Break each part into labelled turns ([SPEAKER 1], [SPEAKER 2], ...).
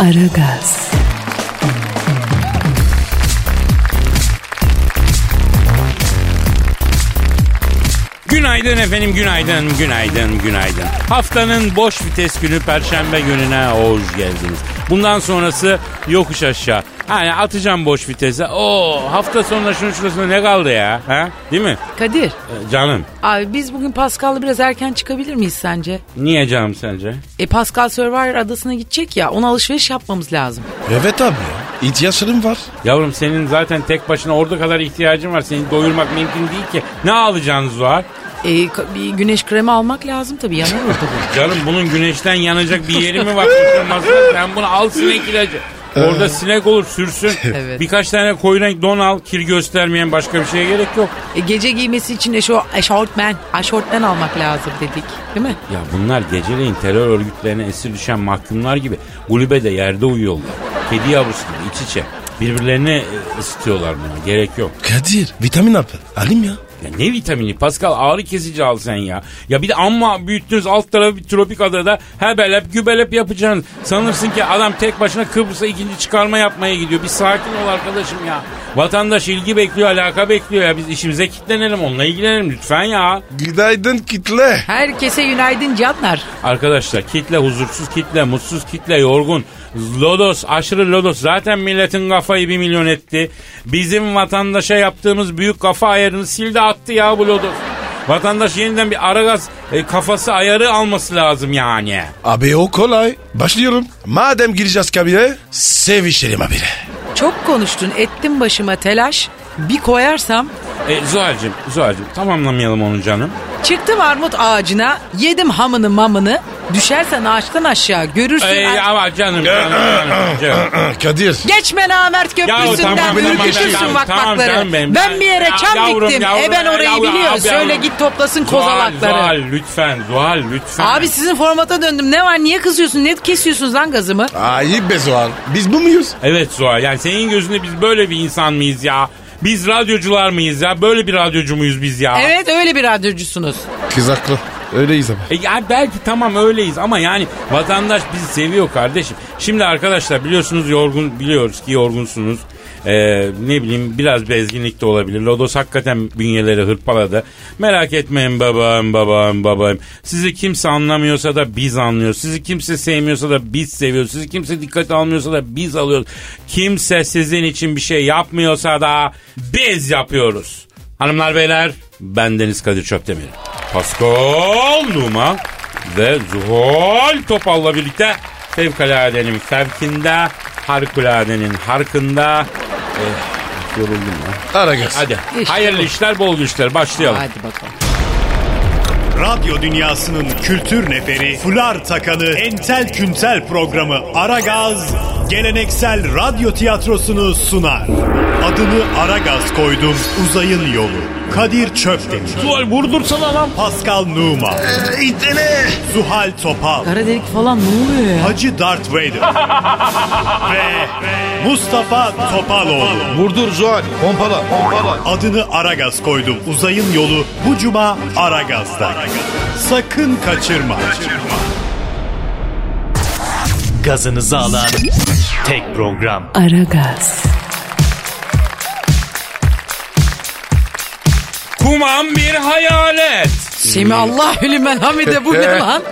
[SPEAKER 1] Aragaz,
[SPEAKER 2] Günaydın efendim, günaydın, günaydın, günaydın. Haftanın boş vites günü Perşembe gününe hoş geldiniz. Bundan sonrası yokuş aşağı. Hani atacağım boş vitese. O hafta sonunda şunun şurasında ne kaldı ya? Ha? Değil mi?
[SPEAKER 3] Kadir,
[SPEAKER 2] Ee, canım.
[SPEAKER 3] abi biz bugün Pascal'la biraz erken çıkabilir miyiz sence?
[SPEAKER 2] Niye canım sence?
[SPEAKER 3] E Pascal Survivor adasına gidecek ya, ona alışveriş yapmamız lazım.
[SPEAKER 4] Evet abi ya. İhtiyaçlarım var.
[SPEAKER 2] Yavrum senin zaten tek başına ordu kadar ihtiyacın var. Seni doyurmak mümkün değil ki. Ne alacağınız var?
[SPEAKER 3] E, ka- bir güneş kremi almak lazım tabii yanar mı tabii.
[SPEAKER 2] Canım bunun güneşten yanacak bir yeri mi var? Kurtulmazsa Sen bunu al sinek ilacı. Orada sinek olur sürsün.
[SPEAKER 3] Evet.
[SPEAKER 2] Birkaç tane koyu renk don al. Kir göstermeyen başka bir şeye gerek yok.
[SPEAKER 3] E, gece giymesi için eşo, eşortmen, eşortmen almak lazım dedik değil mi?
[SPEAKER 2] Ya bunlar geceleyin terör örgütlerine esir düşen mahkumlar gibi gulübede yerde uyuyorlar. Kedi yavrusu gibi iç içe. Birbirlerini e, ısıtıyorlar buna. Gerek yok.
[SPEAKER 4] Kadir vitamin hapı. Alayım ya.
[SPEAKER 2] Ya ne vitamini Pascal ağrı kesici al sen ya. Ya bir de amma büyüttünüz alt tarafı bir tropik adada hebelep gübelep yapacaksınız. Sanırsın ki adam tek başına Kıbrıs'a ikinci çıkarma yapmaya gidiyor. Bir sakin ol arkadaşım ya. Vatandaş ilgi bekliyor alaka bekliyor ya. Biz işimize kitlenelim onunla ilgilenelim lütfen ya.
[SPEAKER 4] Günaydın kitle.
[SPEAKER 3] Herkese günaydın canlar.
[SPEAKER 2] Arkadaşlar kitle huzursuz kitle mutsuz kitle yorgun. Lodos aşırı lodos zaten milletin kafayı bir milyon etti. Bizim vatandaşa yaptığımız büyük kafa ayarını sildi attı ya bu lodos. Vatandaş yeniden bir aragaz e, kafası ayarı alması lazım yani.
[SPEAKER 4] Abi o kolay. Başlıyorum. Madem gireceğiz kabire sevişelim abi.
[SPEAKER 3] Çok konuştun, ettin başıma telaş. Bir koyarsam
[SPEAKER 2] E, Zuhal'cim, Zuhal'cim tamamlamayalım onu canım.
[SPEAKER 3] çıktım armut ağacına, yedim hamını mamını. Düşersen ağaçtan aşağı görürsün.
[SPEAKER 2] Ey,
[SPEAKER 3] er-
[SPEAKER 2] E, ama canım, canım, canım, canım.
[SPEAKER 4] Kadir.
[SPEAKER 3] Geçme namert
[SPEAKER 2] Ya
[SPEAKER 3] köprüsünden
[SPEAKER 2] tamam,
[SPEAKER 3] ürkütürsün
[SPEAKER 2] tamam, tamam,
[SPEAKER 3] vakmakları.
[SPEAKER 2] tamam benim.
[SPEAKER 3] ben bir yere
[SPEAKER 2] Ya
[SPEAKER 3] çam
[SPEAKER 2] yavrum,
[SPEAKER 3] diktim.
[SPEAKER 2] yavrum,
[SPEAKER 3] e ben orayı
[SPEAKER 2] yavrum,
[SPEAKER 3] biliyorum.
[SPEAKER 2] abi,
[SPEAKER 3] Söyle
[SPEAKER 2] yavrum.
[SPEAKER 3] git toplasın
[SPEAKER 2] Zuhal,
[SPEAKER 3] kozalakları.
[SPEAKER 2] Zuhal lütfen, Zuhal lütfen.
[SPEAKER 3] Abi sizin formata döndüm. Ne var? Niye kızıyorsun? Ne kesiyorsunuz lan gazımı?
[SPEAKER 4] Ayıp be Zuhal. Biz bu muyuz?
[SPEAKER 2] Evet Zuhal yani senin gözünde biz böyle bir insan mıyız ya? Biz radyocular mıyız ya? Böyle bir radyocu muyuz biz ya?
[SPEAKER 3] Evet öyle bir radyocusunuz.
[SPEAKER 4] Kız haklı. Öyleyiz ama.
[SPEAKER 2] E ya belki tamam öyleyiz ama yani vatandaş bizi seviyor kardeşim. Şimdi arkadaşlar biliyorsunuz yorgun biliyoruz ki yorgunsunuz. Ee, ne bileyim biraz bezginlik de olabilir. Lodos hakikaten bünyeleri hırpaladı. Merak etmeyin babam babam babam. Sizi kimse anlamıyorsa da biz anlıyoruz. Sizi kimse sevmiyorsa da biz seviyoruz. Sizi kimse dikkate almıyorsa da biz alıyoruz. Kimse sizin için bir şey yapmıyorsa da biz yapıyoruz. Hanımlar beyler ben Deniz Kadir Çöptemir. Pascal Numa ve Zuhal Topal'la birlikte fevkaladenin fevkinde, harikuladenin harkında. Eh, yoruldum ya.
[SPEAKER 4] Ara gez.
[SPEAKER 2] Hadi
[SPEAKER 3] İşte
[SPEAKER 2] hayırlı
[SPEAKER 3] bu.
[SPEAKER 2] işler bol işler başlayalım.
[SPEAKER 3] Hadi bakalım.
[SPEAKER 5] Radyo dünyasının kültür neferi, fular takanı, entel küntel programı Aragaz, geleneksel radyo tiyatrosunu sunar. Adını Aragaz koydum, uzayın yolu. Kadir Çöpdemir,
[SPEAKER 2] Zuhal vurdursana lan.
[SPEAKER 5] Pascal Numa, Zuhal Topal,
[SPEAKER 3] Kara delik falan ne oluyor ya?
[SPEAKER 5] Hacı Darth Vader ve Mustafa Topaloğlu.
[SPEAKER 4] Vurdur Zuhal. Pompala. Pompala.
[SPEAKER 5] Adını Aragaz koydum. Uzayın yolu bu cuma Aragaz'da. Sakın kaçırma.
[SPEAKER 6] gazınızı alan tek program.
[SPEAKER 1] Aragaz,
[SPEAKER 2] Kuman bir hayalet.
[SPEAKER 3] Semi Allah hülümen hamide bu ne lan?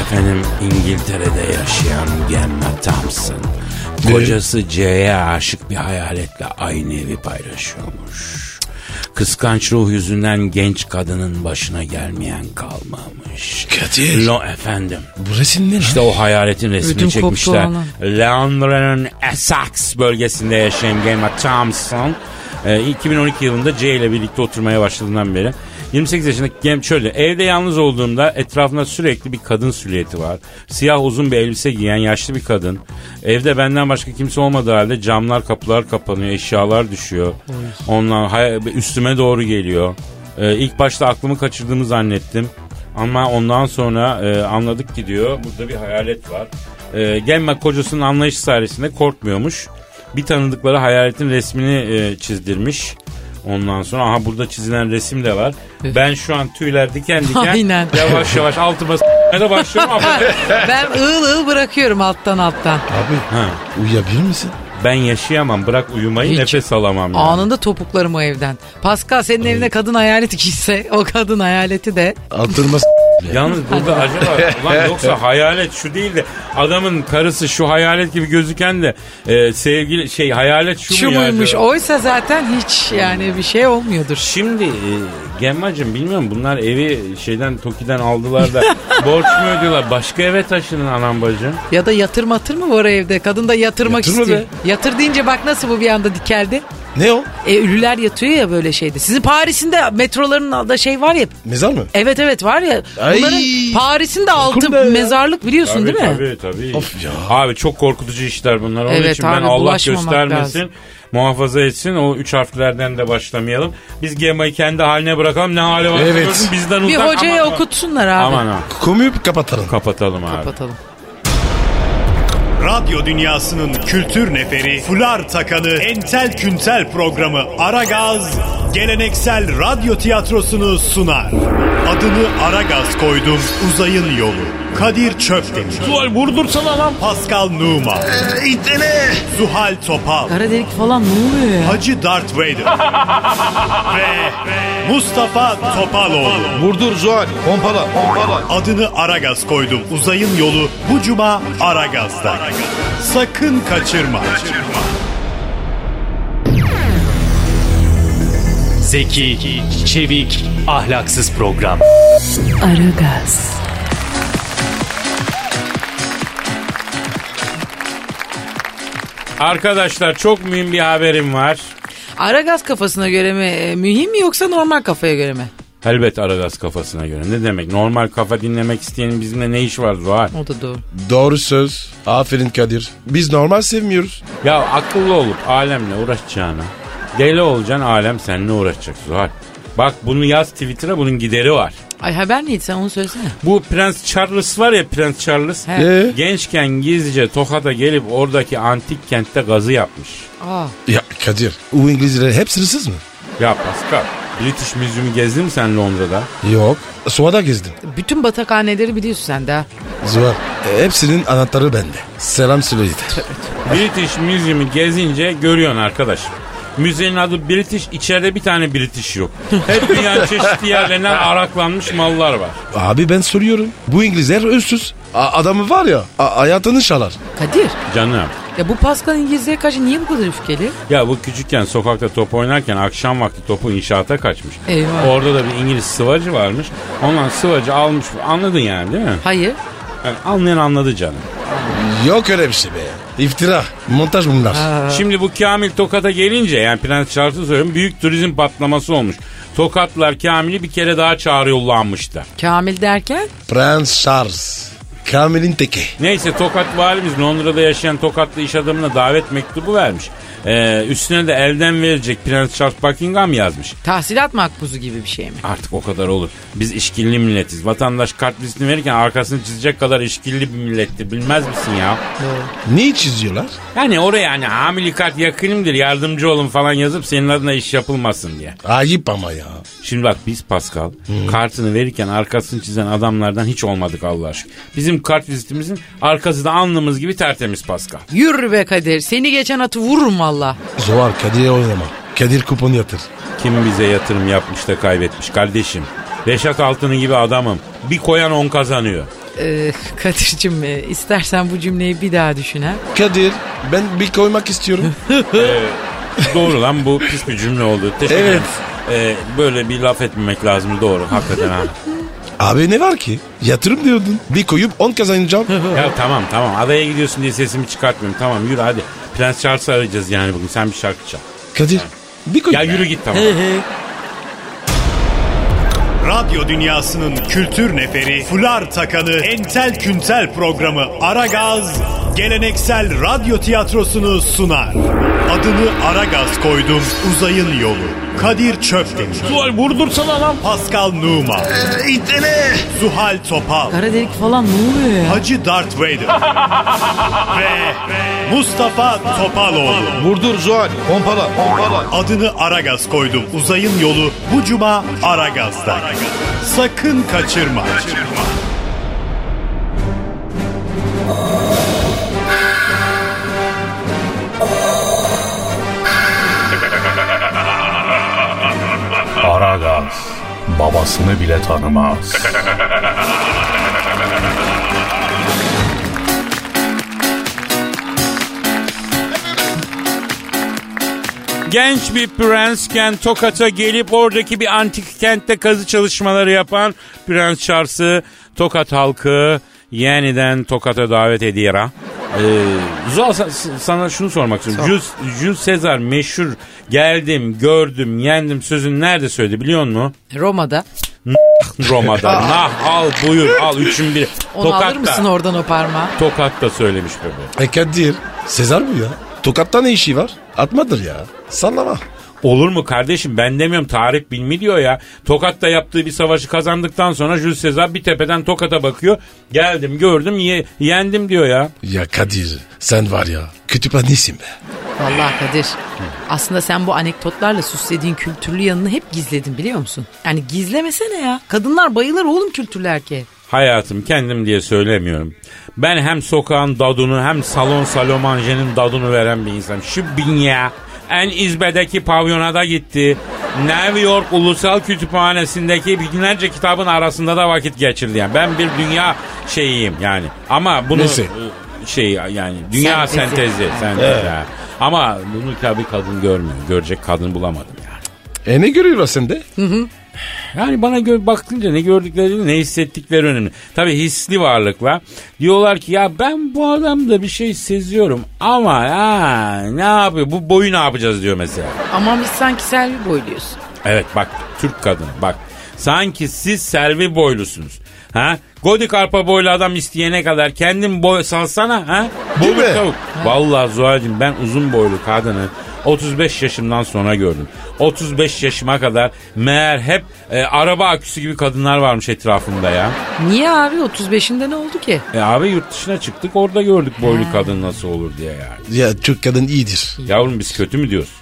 [SPEAKER 2] Efendim İngiltere'de yaşayan Gemma Thompson. Kocası C'ye aşık bir hayaletle aynı evi paylaşıyormuş. Kıskanç ruh yüzünden genç kadının başına gelmeyen kalmamış.
[SPEAKER 4] Kadir.
[SPEAKER 2] Lo efendim.
[SPEAKER 4] Bu resim ne lan?
[SPEAKER 2] İşte o hayaletin resmini
[SPEAKER 3] Ödüm koptu
[SPEAKER 2] çekmişler.
[SPEAKER 3] valla.
[SPEAKER 2] Londra'nın Essex bölgesinde yaşayan Gemma Thompson e, 2012 yılında C ile birlikte oturmaya başladığından beri 28 yaşındaki genç şöyle. Evde yalnız olduğumda etrafında sürekli bir kadın silüeti var. Siyah uzun bir elbise giyen yaşlı bir kadın. Evde benden başka kimse olmadığı halde camlar kapılar kapanıyor. Eşyalar düşüyor. Onlar hay- üstüme doğru geliyor. Ee, ilk başta aklımı kaçırdığımı zannettim. Ama ondan sonra e, anladık ki diyor burada bir hayalet var. E, Gemma kocasının anlayış sayesinde korkmuyormuş. Bir tanıdıkları hayaletin resmini e, çizdirmiş. Ondan sonra aha burada çizilen resim de var. Ben şu an tüyler diken diken
[SPEAKER 3] E. Aynen.
[SPEAKER 2] yavaş yavaş altıma s**maya da başlıyorum ama
[SPEAKER 3] Ben ığıl ığıl bırakıyorum alttan alttan.
[SPEAKER 4] Abi
[SPEAKER 2] Ha.
[SPEAKER 4] uyuyabilir misin?
[SPEAKER 2] ben yaşayamam bırak uyumayı
[SPEAKER 3] Hiç.
[SPEAKER 2] nefes alamam. yani.
[SPEAKER 3] Anında topuklarım o evden. Pascal senin evine kadın hayaleti gitse o kadın hayaleti de
[SPEAKER 4] Altırmaz.
[SPEAKER 2] Yalnız burada acaba ulan yoksa hayalet şu değil de adamın karısı şu hayalet gibi gözüken de e, sevgili şey hayalet şu,
[SPEAKER 3] şu
[SPEAKER 2] mu ya
[SPEAKER 3] muymuş.
[SPEAKER 2] acaba?
[SPEAKER 3] Oysa zaten hiç yani bir şey olmuyordur.
[SPEAKER 2] Şimdi e, Gemmacığım bilmiyorum bunlar evi şeyden Toki'den aldılar da borç mu ödüyorlar? Başka eve taşının anam bacım.
[SPEAKER 3] Ya da yatır matır mı var evde? Kadın da yatırmak
[SPEAKER 4] Yatır mı
[SPEAKER 3] istiyor.
[SPEAKER 4] be?
[SPEAKER 3] Yatır deyince bak nasıl bu bir anda dikeldi.
[SPEAKER 4] Ne o?
[SPEAKER 3] E, ölüler yatıyor ya böyle şeyde. Sizin Paris'in de metroların da şey var ya.
[SPEAKER 4] Mezar mı?
[SPEAKER 3] Evet evet var ya.
[SPEAKER 4] Ay.
[SPEAKER 3] Bunların Paris'in de altı
[SPEAKER 4] be ya.
[SPEAKER 3] mezarlık biliyorsun
[SPEAKER 2] Tabii
[SPEAKER 3] değil mi?
[SPEAKER 2] tabii tabii.
[SPEAKER 4] Of ya.
[SPEAKER 2] Abi çok korkutucu işler bunlar. Onun
[SPEAKER 3] Evet
[SPEAKER 2] için ben
[SPEAKER 3] abi,
[SPEAKER 2] Allah
[SPEAKER 3] bulaşmamak
[SPEAKER 2] göstermesin.
[SPEAKER 3] lazım.
[SPEAKER 2] Muhafaza etsin. O üç harflerden de başlamayalım. Biz Gemma'yı kendi haline bırakalım. Ne hali var
[SPEAKER 4] Evet.
[SPEAKER 2] görsün, bizden uzak.
[SPEAKER 3] Bir hocaya
[SPEAKER 2] Aman,
[SPEAKER 3] okutsunlar abi.
[SPEAKER 2] Aman aman.
[SPEAKER 4] Komuyu kapatalım.
[SPEAKER 2] Kapatalım abi.
[SPEAKER 3] Kapatalım.
[SPEAKER 5] Radyo dünyasının kültür neferi, fular takanı, entel küntel programı Aragaz, geleneksel radyo tiyatrosunu sunar. Adını Aragaz koydum, uzayın yolu. Kadir Çöpdemir,
[SPEAKER 2] Ulan vurdursana lan.
[SPEAKER 5] Pascal Numa,
[SPEAKER 7] İtene.
[SPEAKER 5] Zuhal Topal,
[SPEAKER 3] Kara delik falan ne oluyor ya?
[SPEAKER 5] Hacı Darth Vader ve Mustafa Topaloğlu.
[SPEAKER 8] Vurdur Zuhal. Pompala. Pompala.
[SPEAKER 5] Adını Aragaz koydum. Uzayın yolu bu cuma Aragaz'da. Sakın kaçırma.
[SPEAKER 6] Zeki, çevik, ahlaksız program.
[SPEAKER 1] Aragaz,
[SPEAKER 2] Arkadaşlar çok mühim bir haberim var.
[SPEAKER 3] Ara gaz kafasına göre mi e, mühim mi yoksa normal kafaya göre mi?
[SPEAKER 2] Elbet Aragaz kafasına göre. Ne demek? Normal kafa dinlemek isteyenin bizimle ne işi var Zuhal?
[SPEAKER 3] O da doğru.
[SPEAKER 4] Doğru söz. Aferin Kadir. Biz normal sevmiyoruz.
[SPEAKER 2] Ya akıllı olup alemle uğraşacağına deli olacaksın alem seninle uğraşacak Zuhal. Bak bunu yaz Twitter'a bunun gideri var.
[SPEAKER 3] Ay haber neydi sen onu söylesene.
[SPEAKER 2] Bu Prens Charles var ya Prens Charles.
[SPEAKER 3] He.
[SPEAKER 4] Ee?
[SPEAKER 2] Gençken gizlice Tokat'a gelip oradaki antik kentte gazı yapmış.
[SPEAKER 3] Aa,
[SPEAKER 4] Ya Kadir. Bu İngilizler hep hırsız mı?
[SPEAKER 2] Ya Pascal British Museum'u gezdin mi sen Londra'da?
[SPEAKER 4] Yok. Suvada gezdim.
[SPEAKER 3] bütün batakhaneleri biliyorsun sen de. ha.
[SPEAKER 4] Zuhal. e, hepsinin anahtarı bende. Selam söyle yeter.
[SPEAKER 2] British Museum'u gezince görüyorsun arkadaş. Müzenin adı British, içeride bir tane British yok. Hep dünyanın çeşitli yerlerinden araklanmış mallar var.
[SPEAKER 4] Abi ben soruyorum. Bu İngilizler hırsız. A- adamı var ya a- hayatını çalar.
[SPEAKER 3] Kadir
[SPEAKER 2] Canım.
[SPEAKER 3] ya bu Pascal İngilizlere karşı niye bu kadar öfkeli?
[SPEAKER 2] Ya bu küçükken sokakta top oynarken akşam vakti topu inşaata kaçmış.
[SPEAKER 3] Eyvah.
[SPEAKER 2] Orada da bir İngiliz sıvacı varmış. Ondan sıvacı almış. Anladın yani değil mi?
[SPEAKER 3] Hayır.
[SPEAKER 2] Yani anlayan anladı canım.
[SPEAKER 4] Yok öyle bir şey be. İftira. Montaj bunlar.
[SPEAKER 2] Şimdi bu Kamil Tokat'a gelince yani Prens Charles'ı söylüyorum büyük turizm patlaması olmuş. Tokatlar Kamil'i bir kere daha çağrı yollanmıştı.
[SPEAKER 3] Kamil derken
[SPEAKER 4] Prens Charles. Kamil'in teki.
[SPEAKER 2] Neyse Tokat valimiz Londra'da yaşayan Tokatlı iş adamına davet mektubu vermiş. Ee, üstüne de elden verecek Prens Charles Buckingham yazmış.
[SPEAKER 3] tahsilat makbuzu gibi bir şey mi?
[SPEAKER 2] Artık o kadar olur. Biz işkilli milletiz. Vatandaş kart listini verirken arkasını çizecek kadar işkilli bir millettir. Bilmez misin ya?
[SPEAKER 4] Niye çiziyorlar?
[SPEAKER 2] Yani oraya hani hamili kart yakınımdır yardımcı olun falan yazıp senin adına iş yapılmasın diye.
[SPEAKER 4] Ayıp ama ya.
[SPEAKER 2] Şimdi bak biz Pascal kartını verirken arkasını çizen adamlardan hiç olmadık Allah aşkına. Bizim kart vizitimizin arkası da alnımız gibi tertemiz Pascal.
[SPEAKER 3] Yürü be Kadir seni geçen atı vururum valla.
[SPEAKER 4] Zovar Kadir'e oynama. Kadir kuponu yatır.
[SPEAKER 2] Kim bize yatırım yapmış da kaybetmiş kardeşim. Reşat Altın'ı gibi adamım. Bir koyan on kazanıyor.
[SPEAKER 3] Ee, Kadir'cim e, istersen bu cümleyi bir daha düşün ha.
[SPEAKER 4] Kadir ben bir koymak istiyorum.
[SPEAKER 2] Doğru lan bu pis bir cümle oldu. Teşekkür
[SPEAKER 4] Evet.
[SPEAKER 2] ederim. Ee, böyle bir laf etmemek lazım doğru hakikaten ha.
[SPEAKER 4] Abi ne var ki? Yatırım diyordun. Bir koyup 10 kazanacağım.
[SPEAKER 2] ya tamam tamam adaya gidiyorsun diye sesimi çıkartmıyorum tamam yürü hadi. Prens Charles'ı arayacağız yani bugün sen bir şarkı çal.
[SPEAKER 4] Kadir bir koy.
[SPEAKER 2] Ya yürü git tamam.
[SPEAKER 5] radyo dünyasının kültür neferi, fular takanı, entel küntel programı Aragaz, geleneksel radyo tiyatrosunu sunar. Adını Aragaz koydum, uzayın yolu. Kadir Çöpdemir,
[SPEAKER 2] Tuval vurdursana lan.
[SPEAKER 5] Pascal Numa,
[SPEAKER 8] İtene.
[SPEAKER 5] Zuhal Topal,
[SPEAKER 3] Kara delik falan ne oluyor ya?
[SPEAKER 5] Hacı Darth Vader ve Mustafa Topaloğlu.
[SPEAKER 8] Vurdur Zuhal. Pompala. Pompala.
[SPEAKER 5] Adını Aragaz koydum. Uzayın yolu bu cuma Aragaz'da. Sakın kaçırma.
[SPEAKER 9] Aragaz babasını bile tanımaz.
[SPEAKER 2] Genç bir prensken Tokat'a gelip oradaki bir antik kentte kazı çalışmaları yapan Prens Charles'ı Tokat halkı yeniden Tokat'a davet ediyor ha. Ee, Zuhal, sa- s- sana şunu sormak istiyorum. Jules, Jules Caesar meşhur geldim, gördüm, yendim sözünü nerede söyledi biliyor musun?
[SPEAKER 3] Roma'da.
[SPEAKER 2] Roma'da. nah al buyur al üçün biri.
[SPEAKER 3] Onu alır mısın
[SPEAKER 2] Tokat'ta.
[SPEAKER 3] oradan o parmağı?
[SPEAKER 2] Tokat'ta söylemiş bebe.
[SPEAKER 4] E Kadir. Sezar bu ya. Tokat'ta ne işi var? Atmadır ya. Sallama.
[SPEAKER 2] Olur mu kardeşim ben demiyorum tarih bilmi diyor ya. Tokat'ta yaptığı bir savaşı kazandıktan sonra Jules Caesar bir tepeden Tokat'a bakıyor. Geldim gördüm ye- yendim diyor ya.
[SPEAKER 4] Ya Kadir sen var ya kütüphanesin be.
[SPEAKER 3] Vallahi Kadir. Aslında sen bu anekdotlarla süslediğin kültürlü yanını hep gizledin biliyor musun? Yani gizlemesene ya. Kadınlar bayılır oğlum kültürlü erkeğe.
[SPEAKER 2] Hayatım kendim diye söylemiyorum. Ben hem sokağın dadunu hem salon salomanjenin dadunu veren bir insanım. Şu binya en izbedeki pavyona da gitti. New York Ulusal Kütüphanesi'ndeki binlerce kitabın arasında da vakit geçirdi. Yani ben bir dünya şeyiyim yani. Ama bunu
[SPEAKER 4] Nesi?
[SPEAKER 2] şey yani dünya
[SPEAKER 3] Sentezi.
[SPEAKER 2] sentezi. sentezi, ha. Ama bunu tabii kadın görmüyor. Görecek kadın bulamadım yani.
[SPEAKER 4] E ne görüyorlar sende?
[SPEAKER 2] Yani bana gö- bakınca ne gördükleri ne hissettikleri önemli. Tabii hisli varlıklar. Diyorlar ki ya ben bu adamda bir şey seziyorum ama ha, ne yapıyor bu boyu ne yapacağız diyor mesela.
[SPEAKER 3] Ama biz sanki Selvi boyluyuz.
[SPEAKER 2] Evet bak Türk kadın bak. Sanki siz Selvi boylusunuz. Ha? Godik arpa boylu adam isteyene kadar kendin boy salsana ha?
[SPEAKER 4] Değil
[SPEAKER 2] Boylu
[SPEAKER 4] mi?
[SPEAKER 2] tavuk. Vallahi Zuhal'cığım ben uzun boylu kadını 35 yaşımdan sonra gördüm. 35 yaşıma kadar meğer hep e, araba aküsü gibi kadınlar varmış etrafımda ya.
[SPEAKER 3] Niye abi 35'inde ne oldu ki?
[SPEAKER 2] E abi yurt dışına çıktık orada gördük boylu kadın nasıl olur diye yani.
[SPEAKER 4] Ya Türk kadın iyidir.
[SPEAKER 2] Yavrum biz kötü mü diyoruz?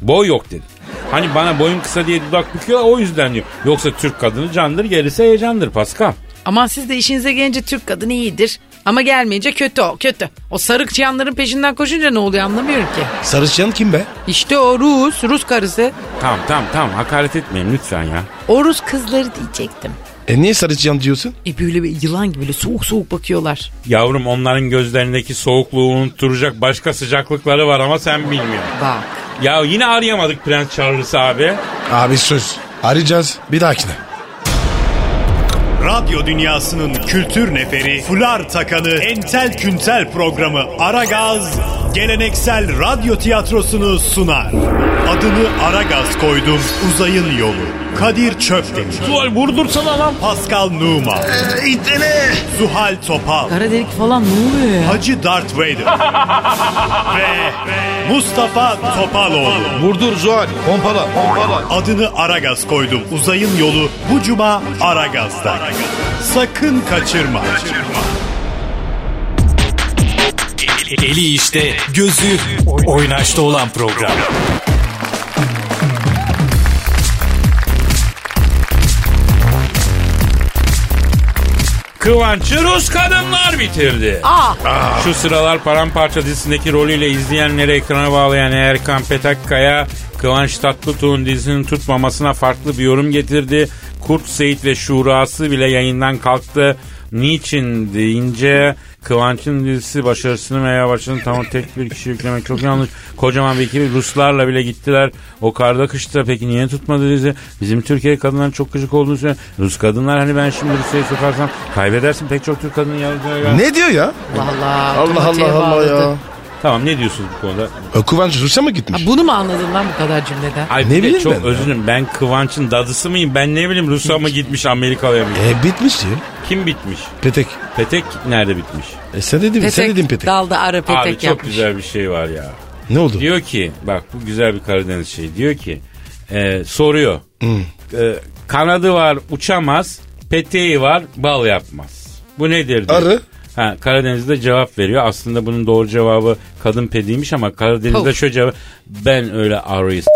[SPEAKER 2] Boy yok dedi. Hani bana boyum kısa diye dudak büküyor o yüzden diyor. Yoksa Türk kadını candır gerisi heyecandır Pascal.
[SPEAKER 3] Aman siz de işinize gelince Türk kadını iyidir. Ama gelmeyince kötü o kötü. O sarık çıyanların peşinden koşunca ne oluyor anlamıyorum ki.
[SPEAKER 4] Sarışın kim be?
[SPEAKER 3] İşte o Rus, Rus karısı.
[SPEAKER 2] Tamam tamam tamam hakaret etmeyin lütfen ya.
[SPEAKER 3] O Rus kızları diyecektim.
[SPEAKER 4] E niye sarışın diyorsun?
[SPEAKER 3] E böyle bir yılan gibi böyle soğuk soğuk bakıyorlar.
[SPEAKER 2] Yavrum onların gözlerindeki soğukluğu unutturacak başka sıcaklıkları var ama sen bilmiyorsun.
[SPEAKER 3] Bak.
[SPEAKER 2] Ya yine arayamadık Prens Charles abi.
[SPEAKER 4] Abi söz. Arayacağız bir dahakine.
[SPEAKER 5] Radyo dünyasının kültür neferi, fular takanı, entel küntel programı Aragaz, geleneksel radyo tiyatrosunu sunar. Adını Aragaz koydum, uzayın yolu. Kadir Çöpdemir,
[SPEAKER 2] Tuval vurdursana lan.
[SPEAKER 5] Pascal Numa,
[SPEAKER 8] İtene.
[SPEAKER 5] Zuhal Topal,
[SPEAKER 3] Kara delik falan ne oluyor ya?
[SPEAKER 5] Hacı Darth Vader ve Mustafa Topaloğlu.
[SPEAKER 8] Vurdur Zuhal. Pompala. Pompala.
[SPEAKER 5] Adını Aragaz koydum. Uzayın yolu bu cuma Aragaz'da. Sakın kaçırma.
[SPEAKER 6] Eli işte, gözü oynaşta olan program.
[SPEAKER 2] Kıvanç'ı Rus kadınlar bitirdi. Şu sıralar Paramparça dizisindeki rolüyle izleyenleri ekrana bağlayan Erkan Petakkaya, Kıvanç Tatlıtuğ'un dizinin tutmamasına farklı bir yorum getirdi. Kurt Seyit ve Şurası bile yayından kalktı. Niçin deyince Kıvanç'ın dizisi başarısını veya başarısını tam tek bir kişi yüklemek çok yanlış. Kocaman bir ekibi Ruslarla bile gittiler. O karda kışta peki niye tutmadı dizi? Bizim Türkiye kadınların çok gıcık olduğunu söylüyor. Rus kadınlar hani ben şimdi Rusya'yı sokarsam kaybedersin pek çok Türk kadının yargıya
[SPEAKER 4] Ne diyor ya?
[SPEAKER 3] Vallahi
[SPEAKER 4] Allah Allah
[SPEAKER 3] otomatiğe
[SPEAKER 4] Allah
[SPEAKER 3] bağladı.
[SPEAKER 4] ya.
[SPEAKER 2] Tamam ne diyorsunuz bu konuda?
[SPEAKER 4] E, Kıvanç Rus'a mı
[SPEAKER 3] Ha,
[SPEAKER 4] gitmiş?
[SPEAKER 3] bunu mu anladın lan bu kadar cümleden?
[SPEAKER 2] Ay
[SPEAKER 4] Ne
[SPEAKER 2] bir de
[SPEAKER 4] bileyim
[SPEAKER 2] çok
[SPEAKER 4] ben ya.
[SPEAKER 2] özür dilerim. Ben Kıvanç'ın dadısı mıyım? Ben ne bileyim Rus'a mı gitmiş Amerika'ya mı?
[SPEAKER 4] E bitmiş ya.
[SPEAKER 2] Kim bitmiş?
[SPEAKER 4] Petek.
[SPEAKER 2] Petek nerede bitmiş?
[SPEAKER 4] E sen dedin, sen dedin Petek.
[SPEAKER 3] Dalda ara petek
[SPEAKER 2] Abi çok
[SPEAKER 3] yapmış.
[SPEAKER 2] güzel bir şey var ya.
[SPEAKER 4] Ne oldu?
[SPEAKER 2] Diyor ki bak bu güzel bir Karadeniz şeyi. Diyor ki e, soruyor.
[SPEAKER 4] Hmm.
[SPEAKER 2] E, kanadı var uçamaz. Peteği var bal yapmaz. Bu nedir diyor.
[SPEAKER 4] Arı.
[SPEAKER 2] Ha, Karadeniz'de cevap veriyor. Aslında bunun doğru cevabı kadın pediymiş ama Karadeniz'de
[SPEAKER 3] Tavuk.
[SPEAKER 2] şöyle cevap. Ben öyle arıyı s-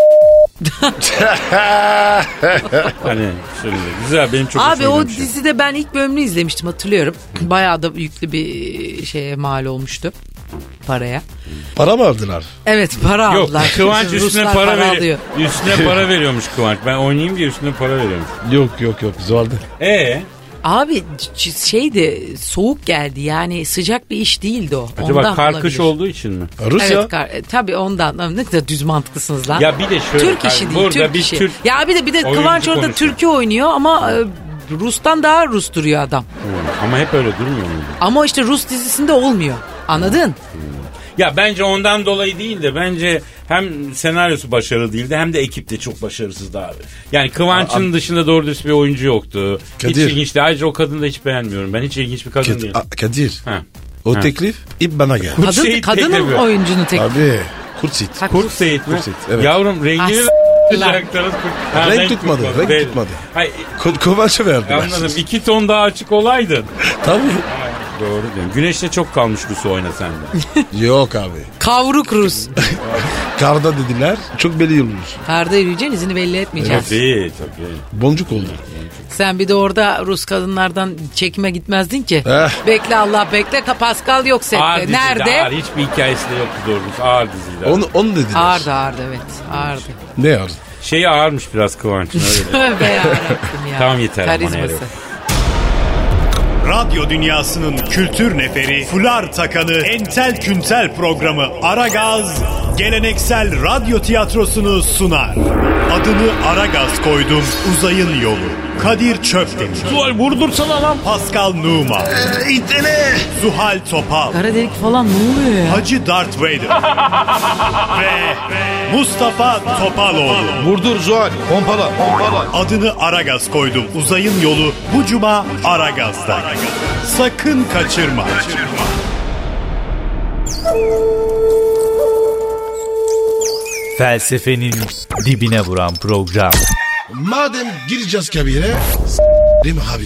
[SPEAKER 2] Hani şöyle güzel benim çok
[SPEAKER 3] Abi
[SPEAKER 2] hoşuma
[SPEAKER 3] o
[SPEAKER 2] gitmiş.
[SPEAKER 3] dizide ben ilk bölümünü izlemiştim hatırlıyorum. Bayağı da yüklü bir şeye mal olmuştu paraya.
[SPEAKER 4] Para mı aldılar?
[SPEAKER 3] Evet para
[SPEAKER 2] Yok
[SPEAKER 3] aldılar.
[SPEAKER 2] Kıvanç
[SPEAKER 3] Çünkü
[SPEAKER 2] üstüne
[SPEAKER 3] Ruslar
[SPEAKER 2] para, veriyor.
[SPEAKER 3] alıyor.
[SPEAKER 2] Üstüne para veriyormuş Kıvanç. Ben oynayayım diye üstüne para veriyormuş.
[SPEAKER 4] Yok yok yok zordu.
[SPEAKER 2] E
[SPEAKER 3] Abi ç- şeydi soğuk geldi yani sıcak bir iş değildi o.
[SPEAKER 2] acaba
[SPEAKER 3] ondan
[SPEAKER 2] karkış
[SPEAKER 3] olabilir.
[SPEAKER 2] olduğu için mi?
[SPEAKER 4] Rusya.
[SPEAKER 3] Evet kar- e, tabii ondan. Lan Ne kadar düz mantıklısınız lan.
[SPEAKER 2] Ya bir de şöyle
[SPEAKER 3] Türk
[SPEAKER 2] kar-
[SPEAKER 3] işi değil
[SPEAKER 2] burada
[SPEAKER 3] Türk
[SPEAKER 2] bir
[SPEAKER 3] işi.
[SPEAKER 2] Türk-
[SPEAKER 3] ya bir de bir de
[SPEAKER 2] oyuncu
[SPEAKER 3] Kıvanç orada
[SPEAKER 2] konuşuyor.
[SPEAKER 3] türkü oynuyor ama e, Rus'tan daha Rus duruyor adam.
[SPEAKER 2] Hmm, Ama hep öyle durmuyor mu?
[SPEAKER 3] Ama işte Rus dizisinde olmuyor. Anladın?
[SPEAKER 2] Ya bence ondan dolayı değil de bence hem senaryosu başarılı değildi hem de ekip de çok başarısızdı abi. Yani Kıvanç'ın dışında doğru dürüst bir oyuncu yoktu.
[SPEAKER 4] Kadir.
[SPEAKER 2] Hiç ilginçti. Ayrıca o kadını da hiç beğenmiyorum. Ben hiç ilginç bir kadın
[SPEAKER 4] Kadir,
[SPEAKER 2] değilim.
[SPEAKER 4] a- Kadir.
[SPEAKER 2] Ha.
[SPEAKER 4] O
[SPEAKER 2] Ha.
[SPEAKER 4] teklif ip bana gel.
[SPEAKER 3] Kadın,
[SPEAKER 2] şeyi
[SPEAKER 3] kadının
[SPEAKER 2] teklifi.
[SPEAKER 3] oyuncunu tek.
[SPEAKER 4] Abi kurt sit.
[SPEAKER 3] Ha,
[SPEAKER 2] Kurt Seyit mi?
[SPEAKER 4] Kurt Seyit, evet.
[SPEAKER 2] Yavrum rengini
[SPEAKER 3] As-
[SPEAKER 2] Bırakacaktınız. Ha,
[SPEAKER 4] Renk tutmadı, renk
[SPEAKER 2] Değil.
[SPEAKER 4] tutmadı.
[SPEAKER 2] Hayır,
[SPEAKER 4] Ko- Kıvanç'a verdiler.
[SPEAKER 2] anladım. İki ton daha açık olaydın.
[SPEAKER 4] Tabii.
[SPEAKER 2] Doğru diyorsun. Güneşte çok kalmış Rus'u oyna sen de.
[SPEAKER 4] Yok abi.
[SPEAKER 3] Kavruk Rus.
[SPEAKER 4] Karda dediler. Çok belli yürümüş.
[SPEAKER 3] Karda yürüyeceksin izini belli etmeyeceksin.
[SPEAKER 2] tabii tabii.
[SPEAKER 4] Boncuk oldu.
[SPEAKER 3] Sen bir de orada Rus kadınlardan çekime gitmezdin ki.
[SPEAKER 4] Eh.
[SPEAKER 3] Bekle Allah bekle. Ka- Pascal yok sette.
[SPEAKER 2] Ağır diziydi,
[SPEAKER 3] Nerede?
[SPEAKER 2] Ağır. Hiçbir hikayesi de yoktu doğru düz. Ağır diziydi. Onu...
[SPEAKER 4] Onu, onu dediler.
[SPEAKER 3] Ağırdı ağırdı evet. Ağırdı.
[SPEAKER 4] Ne yardı?
[SPEAKER 2] Şeyi ağırmış biraz Kıvanç'ın öyle.
[SPEAKER 3] Tövbe yarabbim ya.
[SPEAKER 2] Tamam yeter aman
[SPEAKER 3] Karizması.
[SPEAKER 2] herif.
[SPEAKER 5] Radyo dünyasının kültür neferi, fular takanı, entel küntel programı Aragaz, geleneksel radyo tiyatrosunu sunar. Adını Aragaz koydum, uzayın yolu. Kadir Çöpdemir,
[SPEAKER 2] Ulan vurdursana lan.
[SPEAKER 5] Pascal Numa,
[SPEAKER 8] İtene.
[SPEAKER 5] Zuhal Topal,
[SPEAKER 3] Kara delik falan ne oluyor ya?
[SPEAKER 5] Hacı Darth Vader ve Mustafa Topaloğlu.
[SPEAKER 8] Vurdur Zuhal. Pompala. Pompala.
[SPEAKER 5] Adını Aragaz koydum. Uzayın yolu bu cuma Aragaz'da. Sakın kaçırma.
[SPEAKER 6] Felsefenin dibine vuran program.
[SPEAKER 4] Madem gireceğiz kabire. Değil mi abi?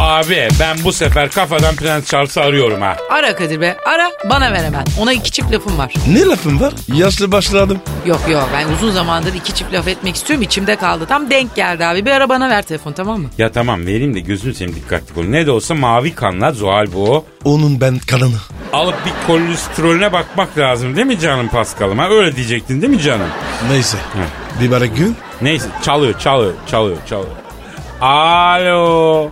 [SPEAKER 2] Abi ben bu sefer kafadan Prens Charles'ı arıyorum ha.
[SPEAKER 3] Ara Kadir be ara bana ver hemen. Ona iki çift lafım var.
[SPEAKER 4] Ne lafın var? Yaşlı başlı adam.
[SPEAKER 3] Yok yok ben uzun zamandır iki çift laf etmek istiyorum içimde kaldı. Tam denk geldi abi bir ara bana ver telefon tamam mı?
[SPEAKER 2] Ya tamam vereyim de gözünü seveyim dikkatli ol. Ne de olsa mavi kanlar Zuhal bu.
[SPEAKER 4] Onun ben kanını.
[SPEAKER 2] Alıp bir kolesterolüne bakmak lazım değil mi canım Paskal'ım? Ha? Öyle diyecektin değil mi canım?
[SPEAKER 4] Neyse. Bir bari gün.
[SPEAKER 2] Neyse çalıyor çalıyor çalıyor çalıyor. Alo.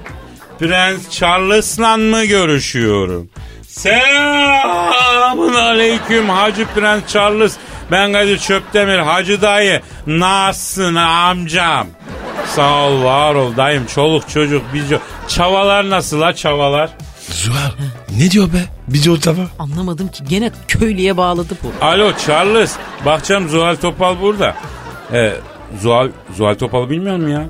[SPEAKER 2] Prens Charles'la mı görüşüyorum? Selamun aleyküm Hacı Prens Charles. Ben Kadir Çöptemir Hacı dayı. Nasılsın amcam? Sağ ol var ol dayım. Çoluk çocuk biz yok. Çavalar nasıl la çavalar?
[SPEAKER 4] Zuhal. Ne diyor be? Bizi o tava.
[SPEAKER 3] Anlamadım ki gene köylüye bağladı bu.
[SPEAKER 2] Alo Charles. Bahçem Zuhal Topal burada. Ee, Zuhal, Zuhal Topal bilmiyor mu ya?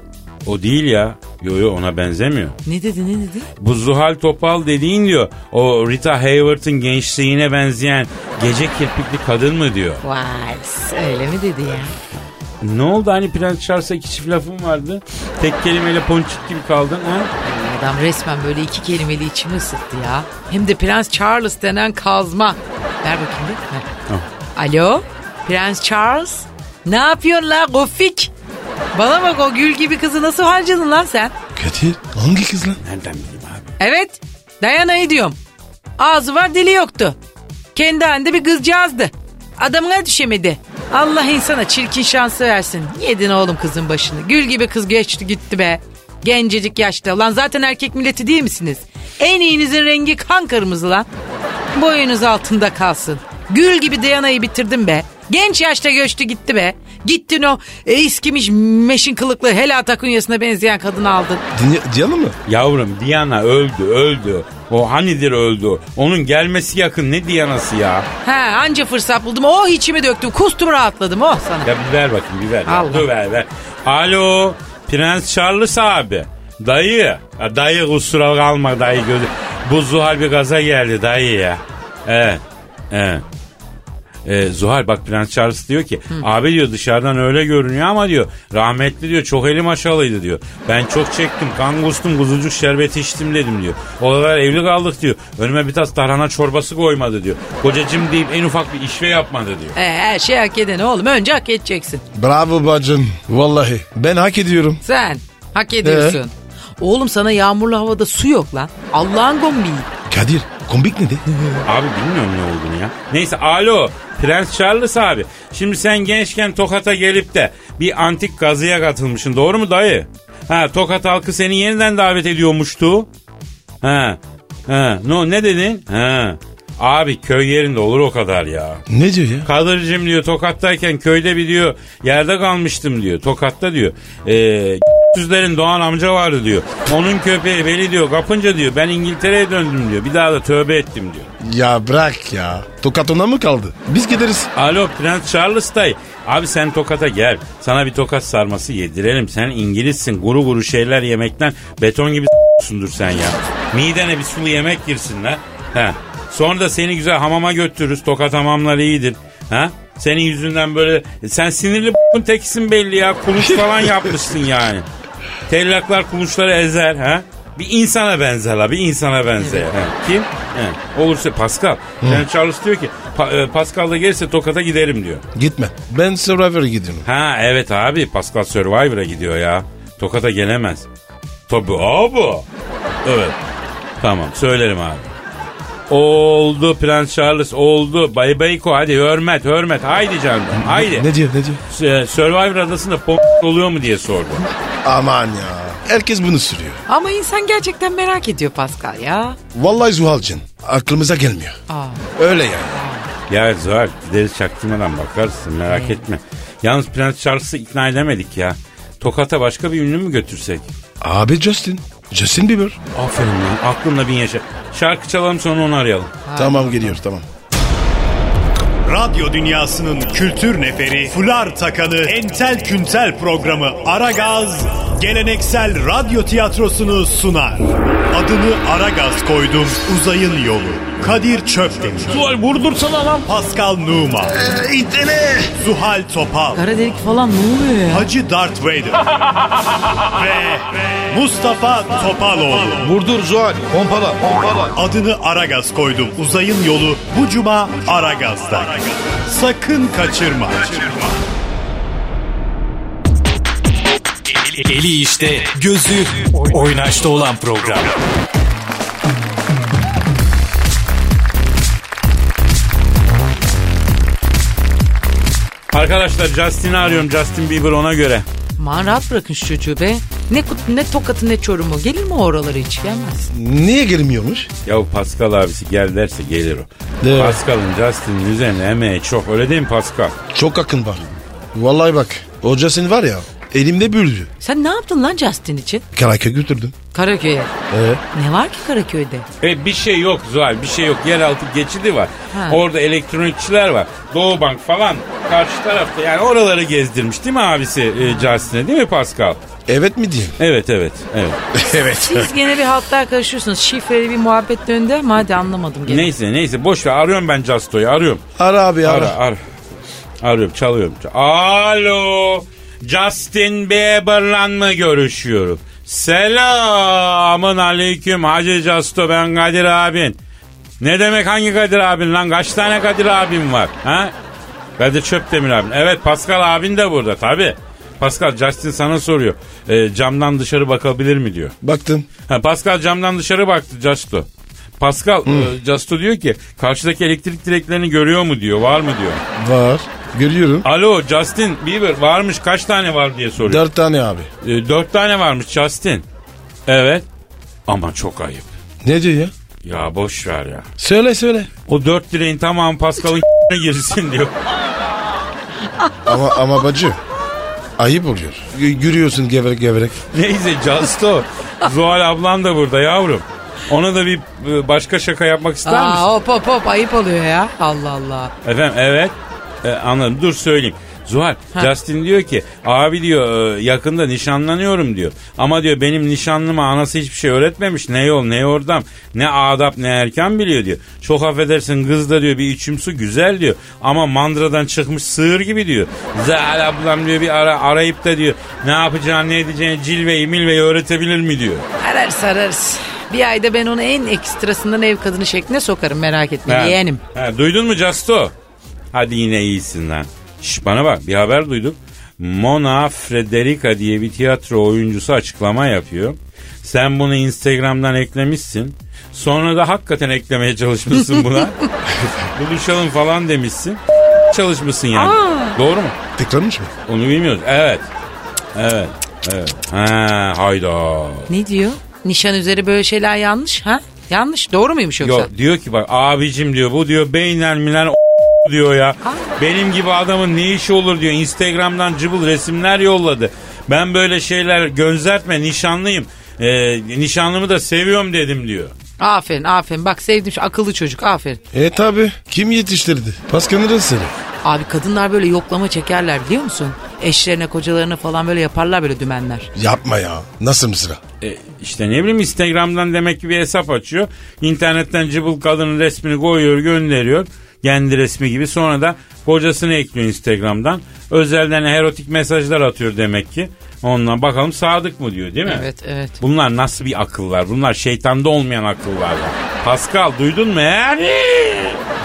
[SPEAKER 2] O değil ya. Yo yo ona benzemiyor.
[SPEAKER 3] Ne dedi ne dedi?
[SPEAKER 2] Bu Zuhal Topal dediğin diyor. O Rita Hayworth'ın gençliğine benzeyen gece kirpikli kadın mı diyor.
[SPEAKER 3] Vay öyle mi dedi ya?
[SPEAKER 2] Ne oldu hani Prens Charles'a iki çift lafın vardı. Tek kelimeyle ponçik gibi kaldın ha?
[SPEAKER 3] Ay, Adam resmen böyle iki kelimeli içimi ısıttı ya. Hem de Prens Charles denen kazma. Ver bakayım bir. Ver.
[SPEAKER 2] Tamam.
[SPEAKER 3] Alo Prens Charles ne yapıyorsun la gofik? Bana bak o gül gibi kızı nasıl harcadın lan sen?
[SPEAKER 4] Kadir. Hangi kız lan?
[SPEAKER 2] Nereden bileyim abi?
[SPEAKER 3] Evet. Dayana'yı diyorum. Ağzı var dili yoktu. Kendi halinde bir kızcağızdı. Adamına düşemedi. Allah insana çirkin şansı versin. Yedin oğlum kızın başını. Gül gibi kız geçti gitti be. Gencecik yaşta. Lan zaten erkek milleti değil misiniz? En iyinizin rengi kan kırmızı lan. Boyunuz altında kalsın. Gül gibi Dayana'yı bitirdim be. Genç yaşta göçtü gitti be. Gittin o e, iskimiş meşin kılıklı helal takunyasına benzeyen kadını aldın.
[SPEAKER 4] Dinle, diyelim mi?
[SPEAKER 2] Yavrum Diana öldü öldü. O hanidir öldü. Onun gelmesi yakın ne Diana'sı ya.
[SPEAKER 3] He anca fırsat buldum. Oh içimi döktüm. Kustum rahatladım. Oh sana.
[SPEAKER 2] Ya bir ver bakayım bir ver. ya.
[SPEAKER 3] Allah.
[SPEAKER 2] Dur ver ver. Alo Prens Charles abi. Dayı. Ya dayı kusura kalma dayı. Gözü. Bu Zuhal bir gaza geldi dayı ya. Evet. Evet. Ee, Zuhal bak Prens Charles diyor ki abi diyor dışarıdan öyle görünüyor ama diyor rahmetli diyor çok elim aşağılıydı diyor. Ben çok çektim kan kustum kuzucuk şerbeti içtim dedim diyor. O kadar evli kaldık diyor. Önüme bir tas tarhana çorbası koymadı diyor. Kocacım deyip en ufak bir işve yapmadı diyor.
[SPEAKER 3] He, her şey hak edene oğlum. Önce hak edeceksin.
[SPEAKER 4] Bravo bacım. Vallahi ben hak ediyorum.
[SPEAKER 3] Sen hak ediyorsun. Oğlum sana yağmurlu havada su yok lan. Allah'ın gombiyi.
[SPEAKER 4] Kadir kombik ne de?
[SPEAKER 2] Abi bilmiyorum ne olduğunu ya. Neyse alo Prens Charles abi. Şimdi sen gençken Tokat'a gelip de bir antik gazıya katılmışsın doğru mu dayı? Ha Tokat halkı seni yeniden davet ediyormuştu. Ha. Ha. No, ne dedin? Ha. Abi köy yerinde olur o kadar ya.
[SPEAKER 4] ne diyor ya?
[SPEAKER 2] Kadırcım diyor Tokat'tayken köyde bir diyor yerde kalmıştım diyor. Tokat'ta diyor. Eee Süzlerin Doğan amca vardı diyor. Onun köpeği beli diyor kapınca diyor ben İngiltere'ye döndüm diyor. Bir daha da tövbe ettim diyor.
[SPEAKER 4] Ya bırak ya. Tokat ona mı kaldı? Biz gideriz.
[SPEAKER 2] Alo Prens Charles dayı. Abi sen Tokat'a gel. Sana bir tokat sarması yedirelim. Sen İngilizsin. Guru guru şeyler yemekten beton gibi sundur sen ya. Midene bir sulu yemek girsin lan. He. Sonra da seni güzel hamama götürürüz. Tokat hamamları iyidir. Ha? Senin yüzünden böyle sen sinirli b***un tekisin belli ya. Kuluç falan yapmışsın yani. Tellaklar kuluçları ezer ha. Bir insana benzer la bir insana benzer. He. Kim? He. Olursa Pascal. Yani Charles diyor ki pa- e, Pascal da gelirse Tokat'a giderim diyor.
[SPEAKER 4] Gitme. Ben Survivor'a gidiyorum.
[SPEAKER 2] Ha evet abi Pascal Survivor'a gidiyor ya. Tokat'a gelemez. Tabi abi. Evet. Tamam söylerim abi. Oldu Prens Charles oldu. Bay Bayko hadi hürmet hürmet. Haydi canım haydi.
[SPEAKER 4] E, Ne diyor ne diyor?
[SPEAKER 2] Ee, Survivor adasında pom oluyor mu diye sordu.
[SPEAKER 4] Aman ya. Herkes bunu sürüyor.
[SPEAKER 3] Ama insan gerçekten merak ediyor Pascal ya.
[SPEAKER 4] Vallahi Zuhal'cın aklımıza gelmiyor.
[SPEAKER 3] Aa.
[SPEAKER 4] Öyle yani.
[SPEAKER 2] Ya Zuhal gideriz çaktırmadan bakarsın merak etme. Yalnız Prens Charles'ı ikna edemedik ya. Tokat'a başka bir ünlü mü götürsek?
[SPEAKER 4] Abi Justin. Justin Bieber.
[SPEAKER 2] Aferin lan aklımla bin yaşa. Şarkı çalalım sonra onu arayalım.
[SPEAKER 4] Tamam geliyor tamam.
[SPEAKER 5] Radyo dünyasının kültür neferi, fular takanı, entel küntel programı Aragaz, geleneksel radyo tiyatrosunu sunar. Adını Aragaz koydum, uzayın yolu. Kadir Çöpdemir,
[SPEAKER 2] Zuhal vurdursana lan.
[SPEAKER 5] Pascal Numa,
[SPEAKER 8] Ee, itene.
[SPEAKER 5] Zuhal Topal,
[SPEAKER 3] Kara delik falan ne oluyor ya?
[SPEAKER 5] Hacı Darth Vader ve Mustafa Topaloğlu.
[SPEAKER 8] Vurdur Zuhal. Pompala. Pompala.
[SPEAKER 5] Adını Aragaz koydum. Uzayın yolu bu cuma Aragaz'da. Sakın kaçırma.
[SPEAKER 6] Eli işte, gözü oynaşta olan program.
[SPEAKER 2] Arkadaşlar Justin'i arıyorum Justin Bieber ona göre.
[SPEAKER 3] Aman rahat bırakın şu çocuğu be. Ne, kut- ne tokatı ne çorumu. Gelir mi oralara hiç gelmez.
[SPEAKER 4] Niye gelmiyormuş?
[SPEAKER 2] Ya Pascal abisi gel derse gelir o.
[SPEAKER 4] Değil mi?
[SPEAKER 2] Pascal'ın Justin'in üzerine emeği çok öyle değil mi Pascal?
[SPEAKER 4] Çok akın var. Vallahi bak. O Justin var ya elimde büyüdü.
[SPEAKER 3] Sen ne yaptın lan Justin için?
[SPEAKER 4] Karaköy'e götürdüm.
[SPEAKER 3] Karaköy'e.
[SPEAKER 4] Ee?
[SPEAKER 3] Ne var ki Karaköy'de?
[SPEAKER 2] E bir şey yok Zuhal bir şey yok yeraltı geçidi var.
[SPEAKER 3] Ha.
[SPEAKER 2] Orada elektronikçiler var. Doğu Bank falan karşı tarafta yani oraları gezdirmiş değil mi abisi e, Justin'e değil mi Pascal?
[SPEAKER 4] Evet mi diyeyim?
[SPEAKER 2] Evet evet evet.
[SPEAKER 4] evet.
[SPEAKER 3] Siz gene bir haltlar karışıyorsunuz. Şifreli bir muhabbet döndü ama hadi anlamadım gene.
[SPEAKER 2] Neyse neyse boş ver arıyorum ben Justo'yu arıyorum.
[SPEAKER 4] Ara abi
[SPEAKER 2] Ara
[SPEAKER 4] ara.
[SPEAKER 2] ara. Arıyorum çalıyorum. Ç- Alo. Justin Bieber'la mı görüşüyorum? Selamın aleyküm Hacı Justo ben Kadir abin. Ne demek hangi Kadir abin lan? Kaç tane Kadir abin var? Ha? Kadir Çöptemir abin. Evet Pascal abin de burada tabi. Pascal Justin sana soruyor. E, camdan dışarı bakabilir mi diyor.
[SPEAKER 4] Baktım.
[SPEAKER 2] Ha, Pascal camdan dışarı baktı Justo. Pascal e, Justo diyor ki karşıdaki elektrik direklerini görüyor mu diyor. Var mı diyor.
[SPEAKER 4] Var. Görüyorum.
[SPEAKER 2] Alo Justin Bieber varmış kaç tane var diye soruyor.
[SPEAKER 4] Dört tane abi.
[SPEAKER 2] E, dört tane varmış Justin. Evet. Ama çok ayıp.
[SPEAKER 4] Ne diyor ya?
[SPEAKER 2] Ya boş ver ya.
[SPEAKER 4] Söyle söyle.
[SPEAKER 2] O dört direğin tamamı Pascal'ın girsin diyor.
[SPEAKER 4] Ama ama bacı ayıp oluyor. Y- Yürüyorsun geverek geverek.
[SPEAKER 2] Neyse Casto. Zuhal ablam da burada yavrum. Ona da bir e, başka şaka yapmak ister misin?
[SPEAKER 3] Aa, hop hop hop ayıp oluyor ya. Allah Allah.
[SPEAKER 2] Efendim evet. E, anladım. Dur söyleyeyim. Zuhal, Justin diyor ki abi diyor e, yakında nişanlanıyorum diyor. Ama diyor benim nişanlıma anası hiçbir şey öğretmemiş. Ne yol ne yordam ne adap ne erken biliyor diyor. Çok affedersin kız da diyor bir içim su güzel diyor. Ama mandradan çıkmış sığır gibi diyor. Zuhal ablam diyor bir ara arayıp da diyor ne yapacağını ne edeceğini cilveyi milveyi öğretebilir mi diyor.
[SPEAKER 3] Ararız ararız. Bir ayda ben onu en ekstrasından ev kadını şekline sokarım merak etme
[SPEAKER 2] Ha.
[SPEAKER 3] yeğenim.
[SPEAKER 2] Ha, duydun mu Casto? Hadi yine iyisin lan. Şş, bana bak bir haber duyduk. Mona Frederica diye bir tiyatro oyuncusu açıklama yapıyor. Sen bunu Instagram'dan eklemişsin. Sonra da hakikaten eklemeye çalışmışsın buna. Buluşalım falan demişsin. Çalışmışsın yani. Doğru mu?
[SPEAKER 4] Tıklanmış mı?
[SPEAKER 2] Onu bilmiyoruz. Evet. Evet. Evet. Ha, hayda.
[SPEAKER 3] Ne diyor? Nişan üzeri böyle şeyler yanlış ha? Yanlış doğru muymuş yoksa?
[SPEAKER 2] Yok diyor ki bak abicim diyor bu diyor beynler miler diyor ya. Benim gibi adamın ne işi olur diyor. Instagram'dan cıbıl resimler yolladı. Ben böyle şeyler göndertme nişanlıyım. Ee, nişanlımı da seviyorum dedim diyor.
[SPEAKER 3] Aferin aferin bak sevdim şu akıllı çocuk aferin.
[SPEAKER 4] E tabi. Kim yetiştirdi? Paskanırız seni.
[SPEAKER 3] Abi kadınlar böyle yoklama çekerler biliyor musun? Eşlerine kocalarına falan böyle yaparlar böyle dümenler.
[SPEAKER 4] Yapma ya. Nasıl mısra?
[SPEAKER 2] E, işte ne bileyim Instagram'dan demek ki bir hesap açıyor. İnternetten cıbıl kadının resmini koyuyor gönderiyor. Kendi resmi gibi. Sonra da kocasını ekliyor Instagram'dan. Özelden erotik mesajlar atıyor demek ki. Ondan bakalım sadık mı diyor değil mi?
[SPEAKER 3] Evet evet.
[SPEAKER 2] Bunlar nasıl bir akıllar? Bunlar şeytanda olmayan akıllar. Pascal duydun mu? Yani?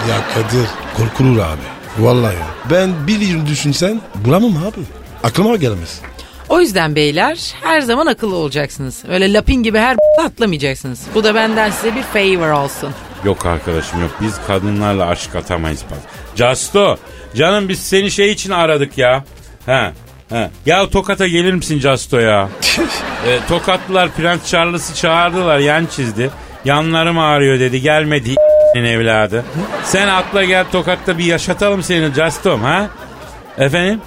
[SPEAKER 4] Ya Kadir korkulur abi. Vallahi ya. Ben bir yıl düşünsen bulamam abi. Aklıma gelmez.
[SPEAKER 3] O yüzden beyler her zaman akıllı olacaksınız. Öyle lapin gibi her atlamayacaksınız. Bu da benden size bir favor olsun.
[SPEAKER 2] Yok arkadaşım yok. Biz kadınlarla aşk atamayız bak. Casto. Canım biz seni şey için aradık ya. He. He. Ya Tokat'a gelir misin Casto ya? E, Tokatlılar Prens Charles'ı çağırdılar yan çizdi. Yanlarım ağrıyor dedi gelmedi evladı. Sen atla gel Tokat'ta bir yaşatalım seni Castom ha? Efendim?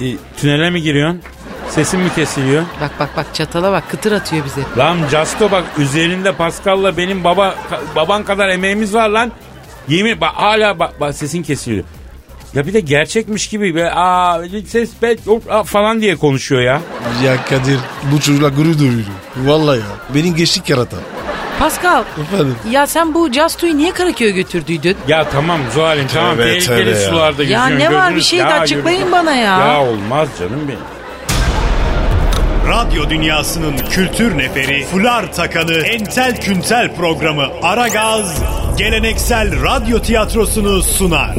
[SPEAKER 2] E, tünele mi giriyorsun? Sesin mi kesiliyor?
[SPEAKER 3] Bak bak bak çatala bak kıtır atıyor bize.
[SPEAKER 2] Lan Casto bak üzerinde Pascal'la benim baba ka- baban kadar emeğimiz var lan. Yemin bak hala bak, bak sesin kesiliyor. Ya bir de gerçekmiş gibi be aa ses be hop, aa" falan diye konuşuyor ya.
[SPEAKER 4] Ya Kadir bu çocukla gurur duyuyorum. Vallahi ya. Benim gençlik yaratan.
[SPEAKER 3] Pascal
[SPEAKER 4] Efendim.
[SPEAKER 3] ya sen bu Castu'yu niye Karaköy'e götürdüydün?
[SPEAKER 2] Ya tamam Zuhal'im tamam
[SPEAKER 4] Tövbe,
[SPEAKER 2] tehlikeli
[SPEAKER 4] tövbe ya.
[SPEAKER 2] sularda
[SPEAKER 3] Ya
[SPEAKER 2] yüzüyorsun,
[SPEAKER 3] ne var
[SPEAKER 2] gözünü-
[SPEAKER 3] bir şey de
[SPEAKER 2] Ya
[SPEAKER 3] açıklayın
[SPEAKER 2] yürü-
[SPEAKER 3] bana ya.
[SPEAKER 2] Ya olmaz canım benim.
[SPEAKER 5] Radyo dünyasının kültür neferi, fular takanı, entel küntel programı Aragaz, geleneksel radyo tiyatrosunu sunar.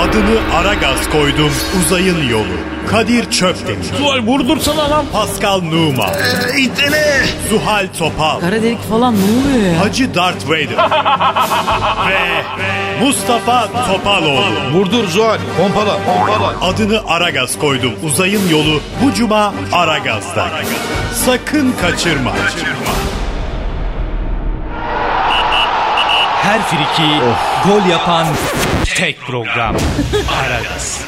[SPEAKER 5] Adını Aragaz koydum, uzayın yolu. Kadir Çöpdemir,
[SPEAKER 2] Zuhal vurdursana lan.
[SPEAKER 5] Pascal Numa,
[SPEAKER 8] Ee, itene.
[SPEAKER 5] Zuhal Topal,
[SPEAKER 3] Kara delik falan ne oluyor ya?
[SPEAKER 5] Hacı Darth Vader ve Mustafa Topaloğlu.
[SPEAKER 8] Vurdur Zuhal. Pompala. Pompala.
[SPEAKER 5] Adını Aragaz koydum. Uzayın yolu bu cuma Aragaz'da. Sakın kaçırma.
[SPEAKER 6] Her friki gol yapan tek program. Aragaz.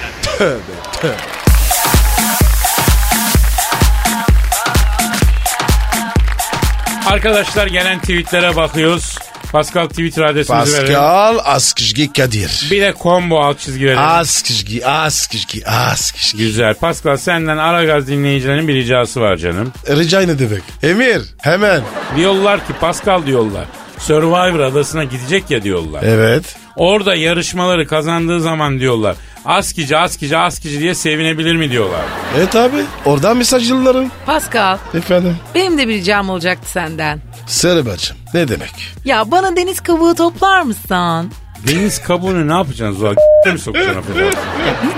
[SPEAKER 2] Arkadaşlar gelen tweetlere bakıyoruz. Pascal Twitter adresimizi verelim.
[SPEAKER 4] Pascal Askışgi Kadir.
[SPEAKER 2] Bir de combo alt çizgi verelim.
[SPEAKER 4] Askışgi, Askışgi, Askışgi.
[SPEAKER 2] Güzel. Pascal senden Aragaz dinleyicilerinin bir ricası var canım.
[SPEAKER 4] Rica ne demek? Emir hemen.
[SPEAKER 2] Diyorlar ki Pascal diyorlar. Survivor adasına gidecek ya diyorlar.
[SPEAKER 4] Evet.
[SPEAKER 2] Orada yarışmaları kazandığı zaman diyorlar. Askici askici askici diye sevinebilir mi diyorlar.
[SPEAKER 4] Evet abi. Oradan mesaj yollarım.
[SPEAKER 3] Pascal
[SPEAKER 4] Efendim.
[SPEAKER 3] benim de bir ricam olacaktı senden.
[SPEAKER 4] Söyle bacım. Ne demek?
[SPEAKER 3] Ya bana deniz kabuğu toplar mısın?
[SPEAKER 2] Deniz kabuğunu ne yapacaksın Zuhal? mi sokacaksın affedersin?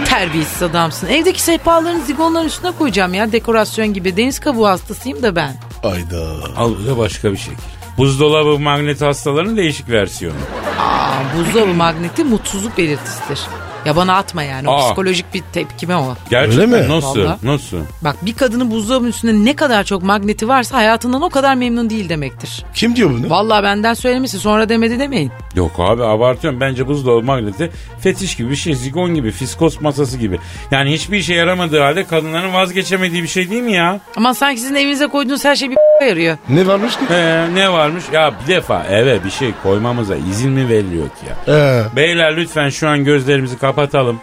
[SPEAKER 3] Ne terbiyesiz adamsın. Evdeki sehpaların zigonların üstüne koyacağım ya dekorasyon gibi. Deniz kabuğu hastasıyım da ben.
[SPEAKER 4] Ayda.
[SPEAKER 2] Al bu da başka bir şekil. Buzdolabı magneti hastalarının değişik versiyonu.
[SPEAKER 3] Aa, buzdolabı magneti mutsuzluk belirtisidir. Ya bana atma yani. O
[SPEAKER 2] Aa.
[SPEAKER 3] psikolojik bir tepkime o.
[SPEAKER 2] Gerçekten
[SPEAKER 4] Öyle mi?
[SPEAKER 2] Nasıl?
[SPEAKER 3] Vallahi.
[SPEAKER 2] Nasıl?
[SPEAKER 3] Bak bir kadının buzdolabının üstünde ne kadar çok magneti varsa hayatından o kadar memnun değil demektir.
[SPEAKER 4] Kim diyor bunu?
[SPEAKER 3] Vallahi benden söylemesi sonra demedi demeyin.
[SPEAKER 2] Yok abi abartıyorum. Bence buzdolabı magneti fetiş gibi bir şey. Zigon gibi. Fiskos masası gibi. Yani hiçbir işe yaramadığı halde kadınların vazgeçemediği bir şey değil mi ya?
[SPEAKER 3] Ama sanki sizin evinize koyduğunuz her şey bir yarıyor.
[SPEAKER 4] Ne varmış ki?
[SPEAKER 2] Ee, ne varmış? Ya bir defa eve bir şey koymamıza izin mi veriliyor ki ya?
[SPEAKER 4] Ee,
[SPEAKER 2] Beyler lütfen şu an gözlerimizi kapatalım.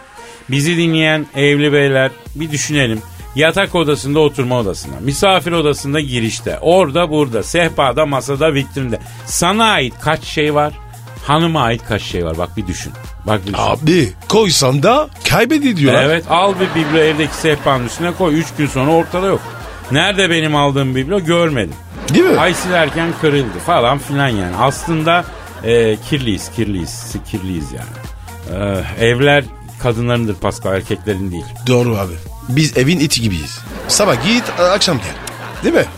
[SPEAKER 2] Bizi dinleyen evli beyler bir düşünelim. Yatak odasında oturma odasına, misafir odasında girişte, orada burada, sehpada, masada, vitrinde. Sana ait kaç şey var? Hanıma ait kaç şey var? Bak bir düşün. Bak bir düşün.
[SPEAKER 4] abi koysan da kaybediliyorlar.
[SPEAKER 2] Evet al bir biblo evdeki sehpanın üstüne koy. Üç gün sonra ortada yok. Nerede benim aldığım biblo görmedim.
[SPEAKER 4] Değil mi?
[SPEAKER 2] Ay silerken kırıldı falan filan yani. Aslında e, kirliyiz, kirliyiz, kirliyiz yani. Eh, evler kadınlarındır Pascal, erkeklerin değil.
[SPEAKER 4] Doğru abi. Biz evin iti gibiyiz. Sabah git akşam gel. Değil mi?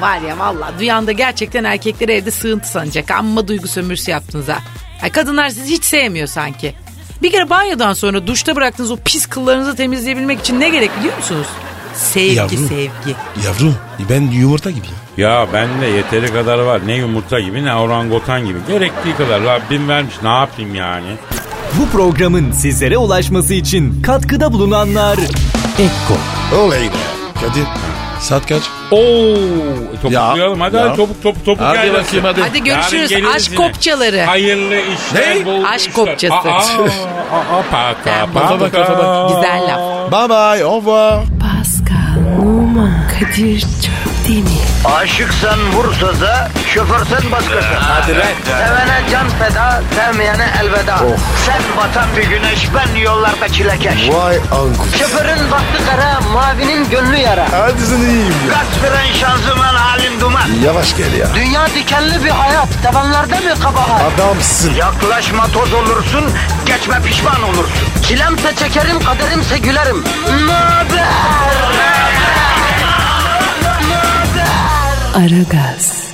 [SPEAKER 3] Var ya valla duyan da gerçekten erkekleri evde sığıntı sanacak. Amma duygu sömürüsü yaptınız ha. Ay, kadınlar sizi hiç sevmiyor sanki. Bir kere banyodan sonra duşta bıraktığınız o pis kıllarınızı temizleyebilmek için ne gerek biliyor musunuz? Sevgi
[SPEAKER 4] Yavrum.
[SPEAKER 3] sevgi.
[SPEAKER 4] Yavrum ben yumurta gibiyim.
[SPEAKER 2] Ya bende yeteri kadar var. Ne yumurta gibi ne orangutan gibi. Gerektiği kadar Rabbim vermiş ne yapayım yani.
[SPEAKER 6] Bu programın sizlere ulaşması için katkıda bulunanlar Ekko
[SPEAKER 4] Olay be. Kadir. Saat kaç?
[SPEAKER 2] Oo, e, topuklayalım hadi,
[SPEAKER 4] ya.
[SPEAKER 2] hadi topuk topuk topuk
[SPEAKER 4] Hadi
[SPEAKER 2] yaylası.
[SPEAKER 4] bakayım, hadi.
[SPEAKER 3] Hadi
[SPEAKER 2] Yarın
[SPEAKER 3] görüşürüz
[SPEAKER 2] geliriz
[SPEAKER 3] aşk
[SPEAKER 2] yine.
[SPEAKER 3] kopçaları.
[SPEAKER 2] Hayırlı işler,
[SPEAKER 4] Ne?
[SPEAKER 2] bol
[SPEAKER 3] Aşk
[SPEAKER 2] işler.
[SPEAKER 3] kopçası.
[SPEAKER 2] Aa, aa, aa, paka,
[SPEAKER 4] Kafa bak, kafa bak.
[SPEAKER 3] Güzel laf.
[SPEAKER 4] Bye bye. Au revoir.
[SPEAKER 1] Pascal, Numan, Kadir çok değil mi?
[SPEAKER 7] Aşıksan vursa da, şoförsen başkasın. Hadi
[SPEAKER 2] lan.
[SPEAKER 7] Sevene can feda, sevmeyene elveda. Sen batan bir güneş, ben yollarda çilekeş.
[SPEAKER 4] Vay anku.
[SPEAKER 7] Şoförün baktı kara, mavinin gönlü yara.
[SPEAKER 4] Hadi sen iyiyim ya.
[SPEAKER 7] Kasperen şanzıman halin duman.
[SPEAKER 4] Yavaş gel ya.
[SPEAKER 7] Dünya dikenli bir hayat, sevenlerde mi kabahar?
[SPEAKER 4] Adamsın.
[SPEAKER 7] Yaklaşma toz olursun, geçme pişman olursun. Çilemse çekerim, kaderimse gülerim. Möber!
[SPEAKER 1] Aragaz.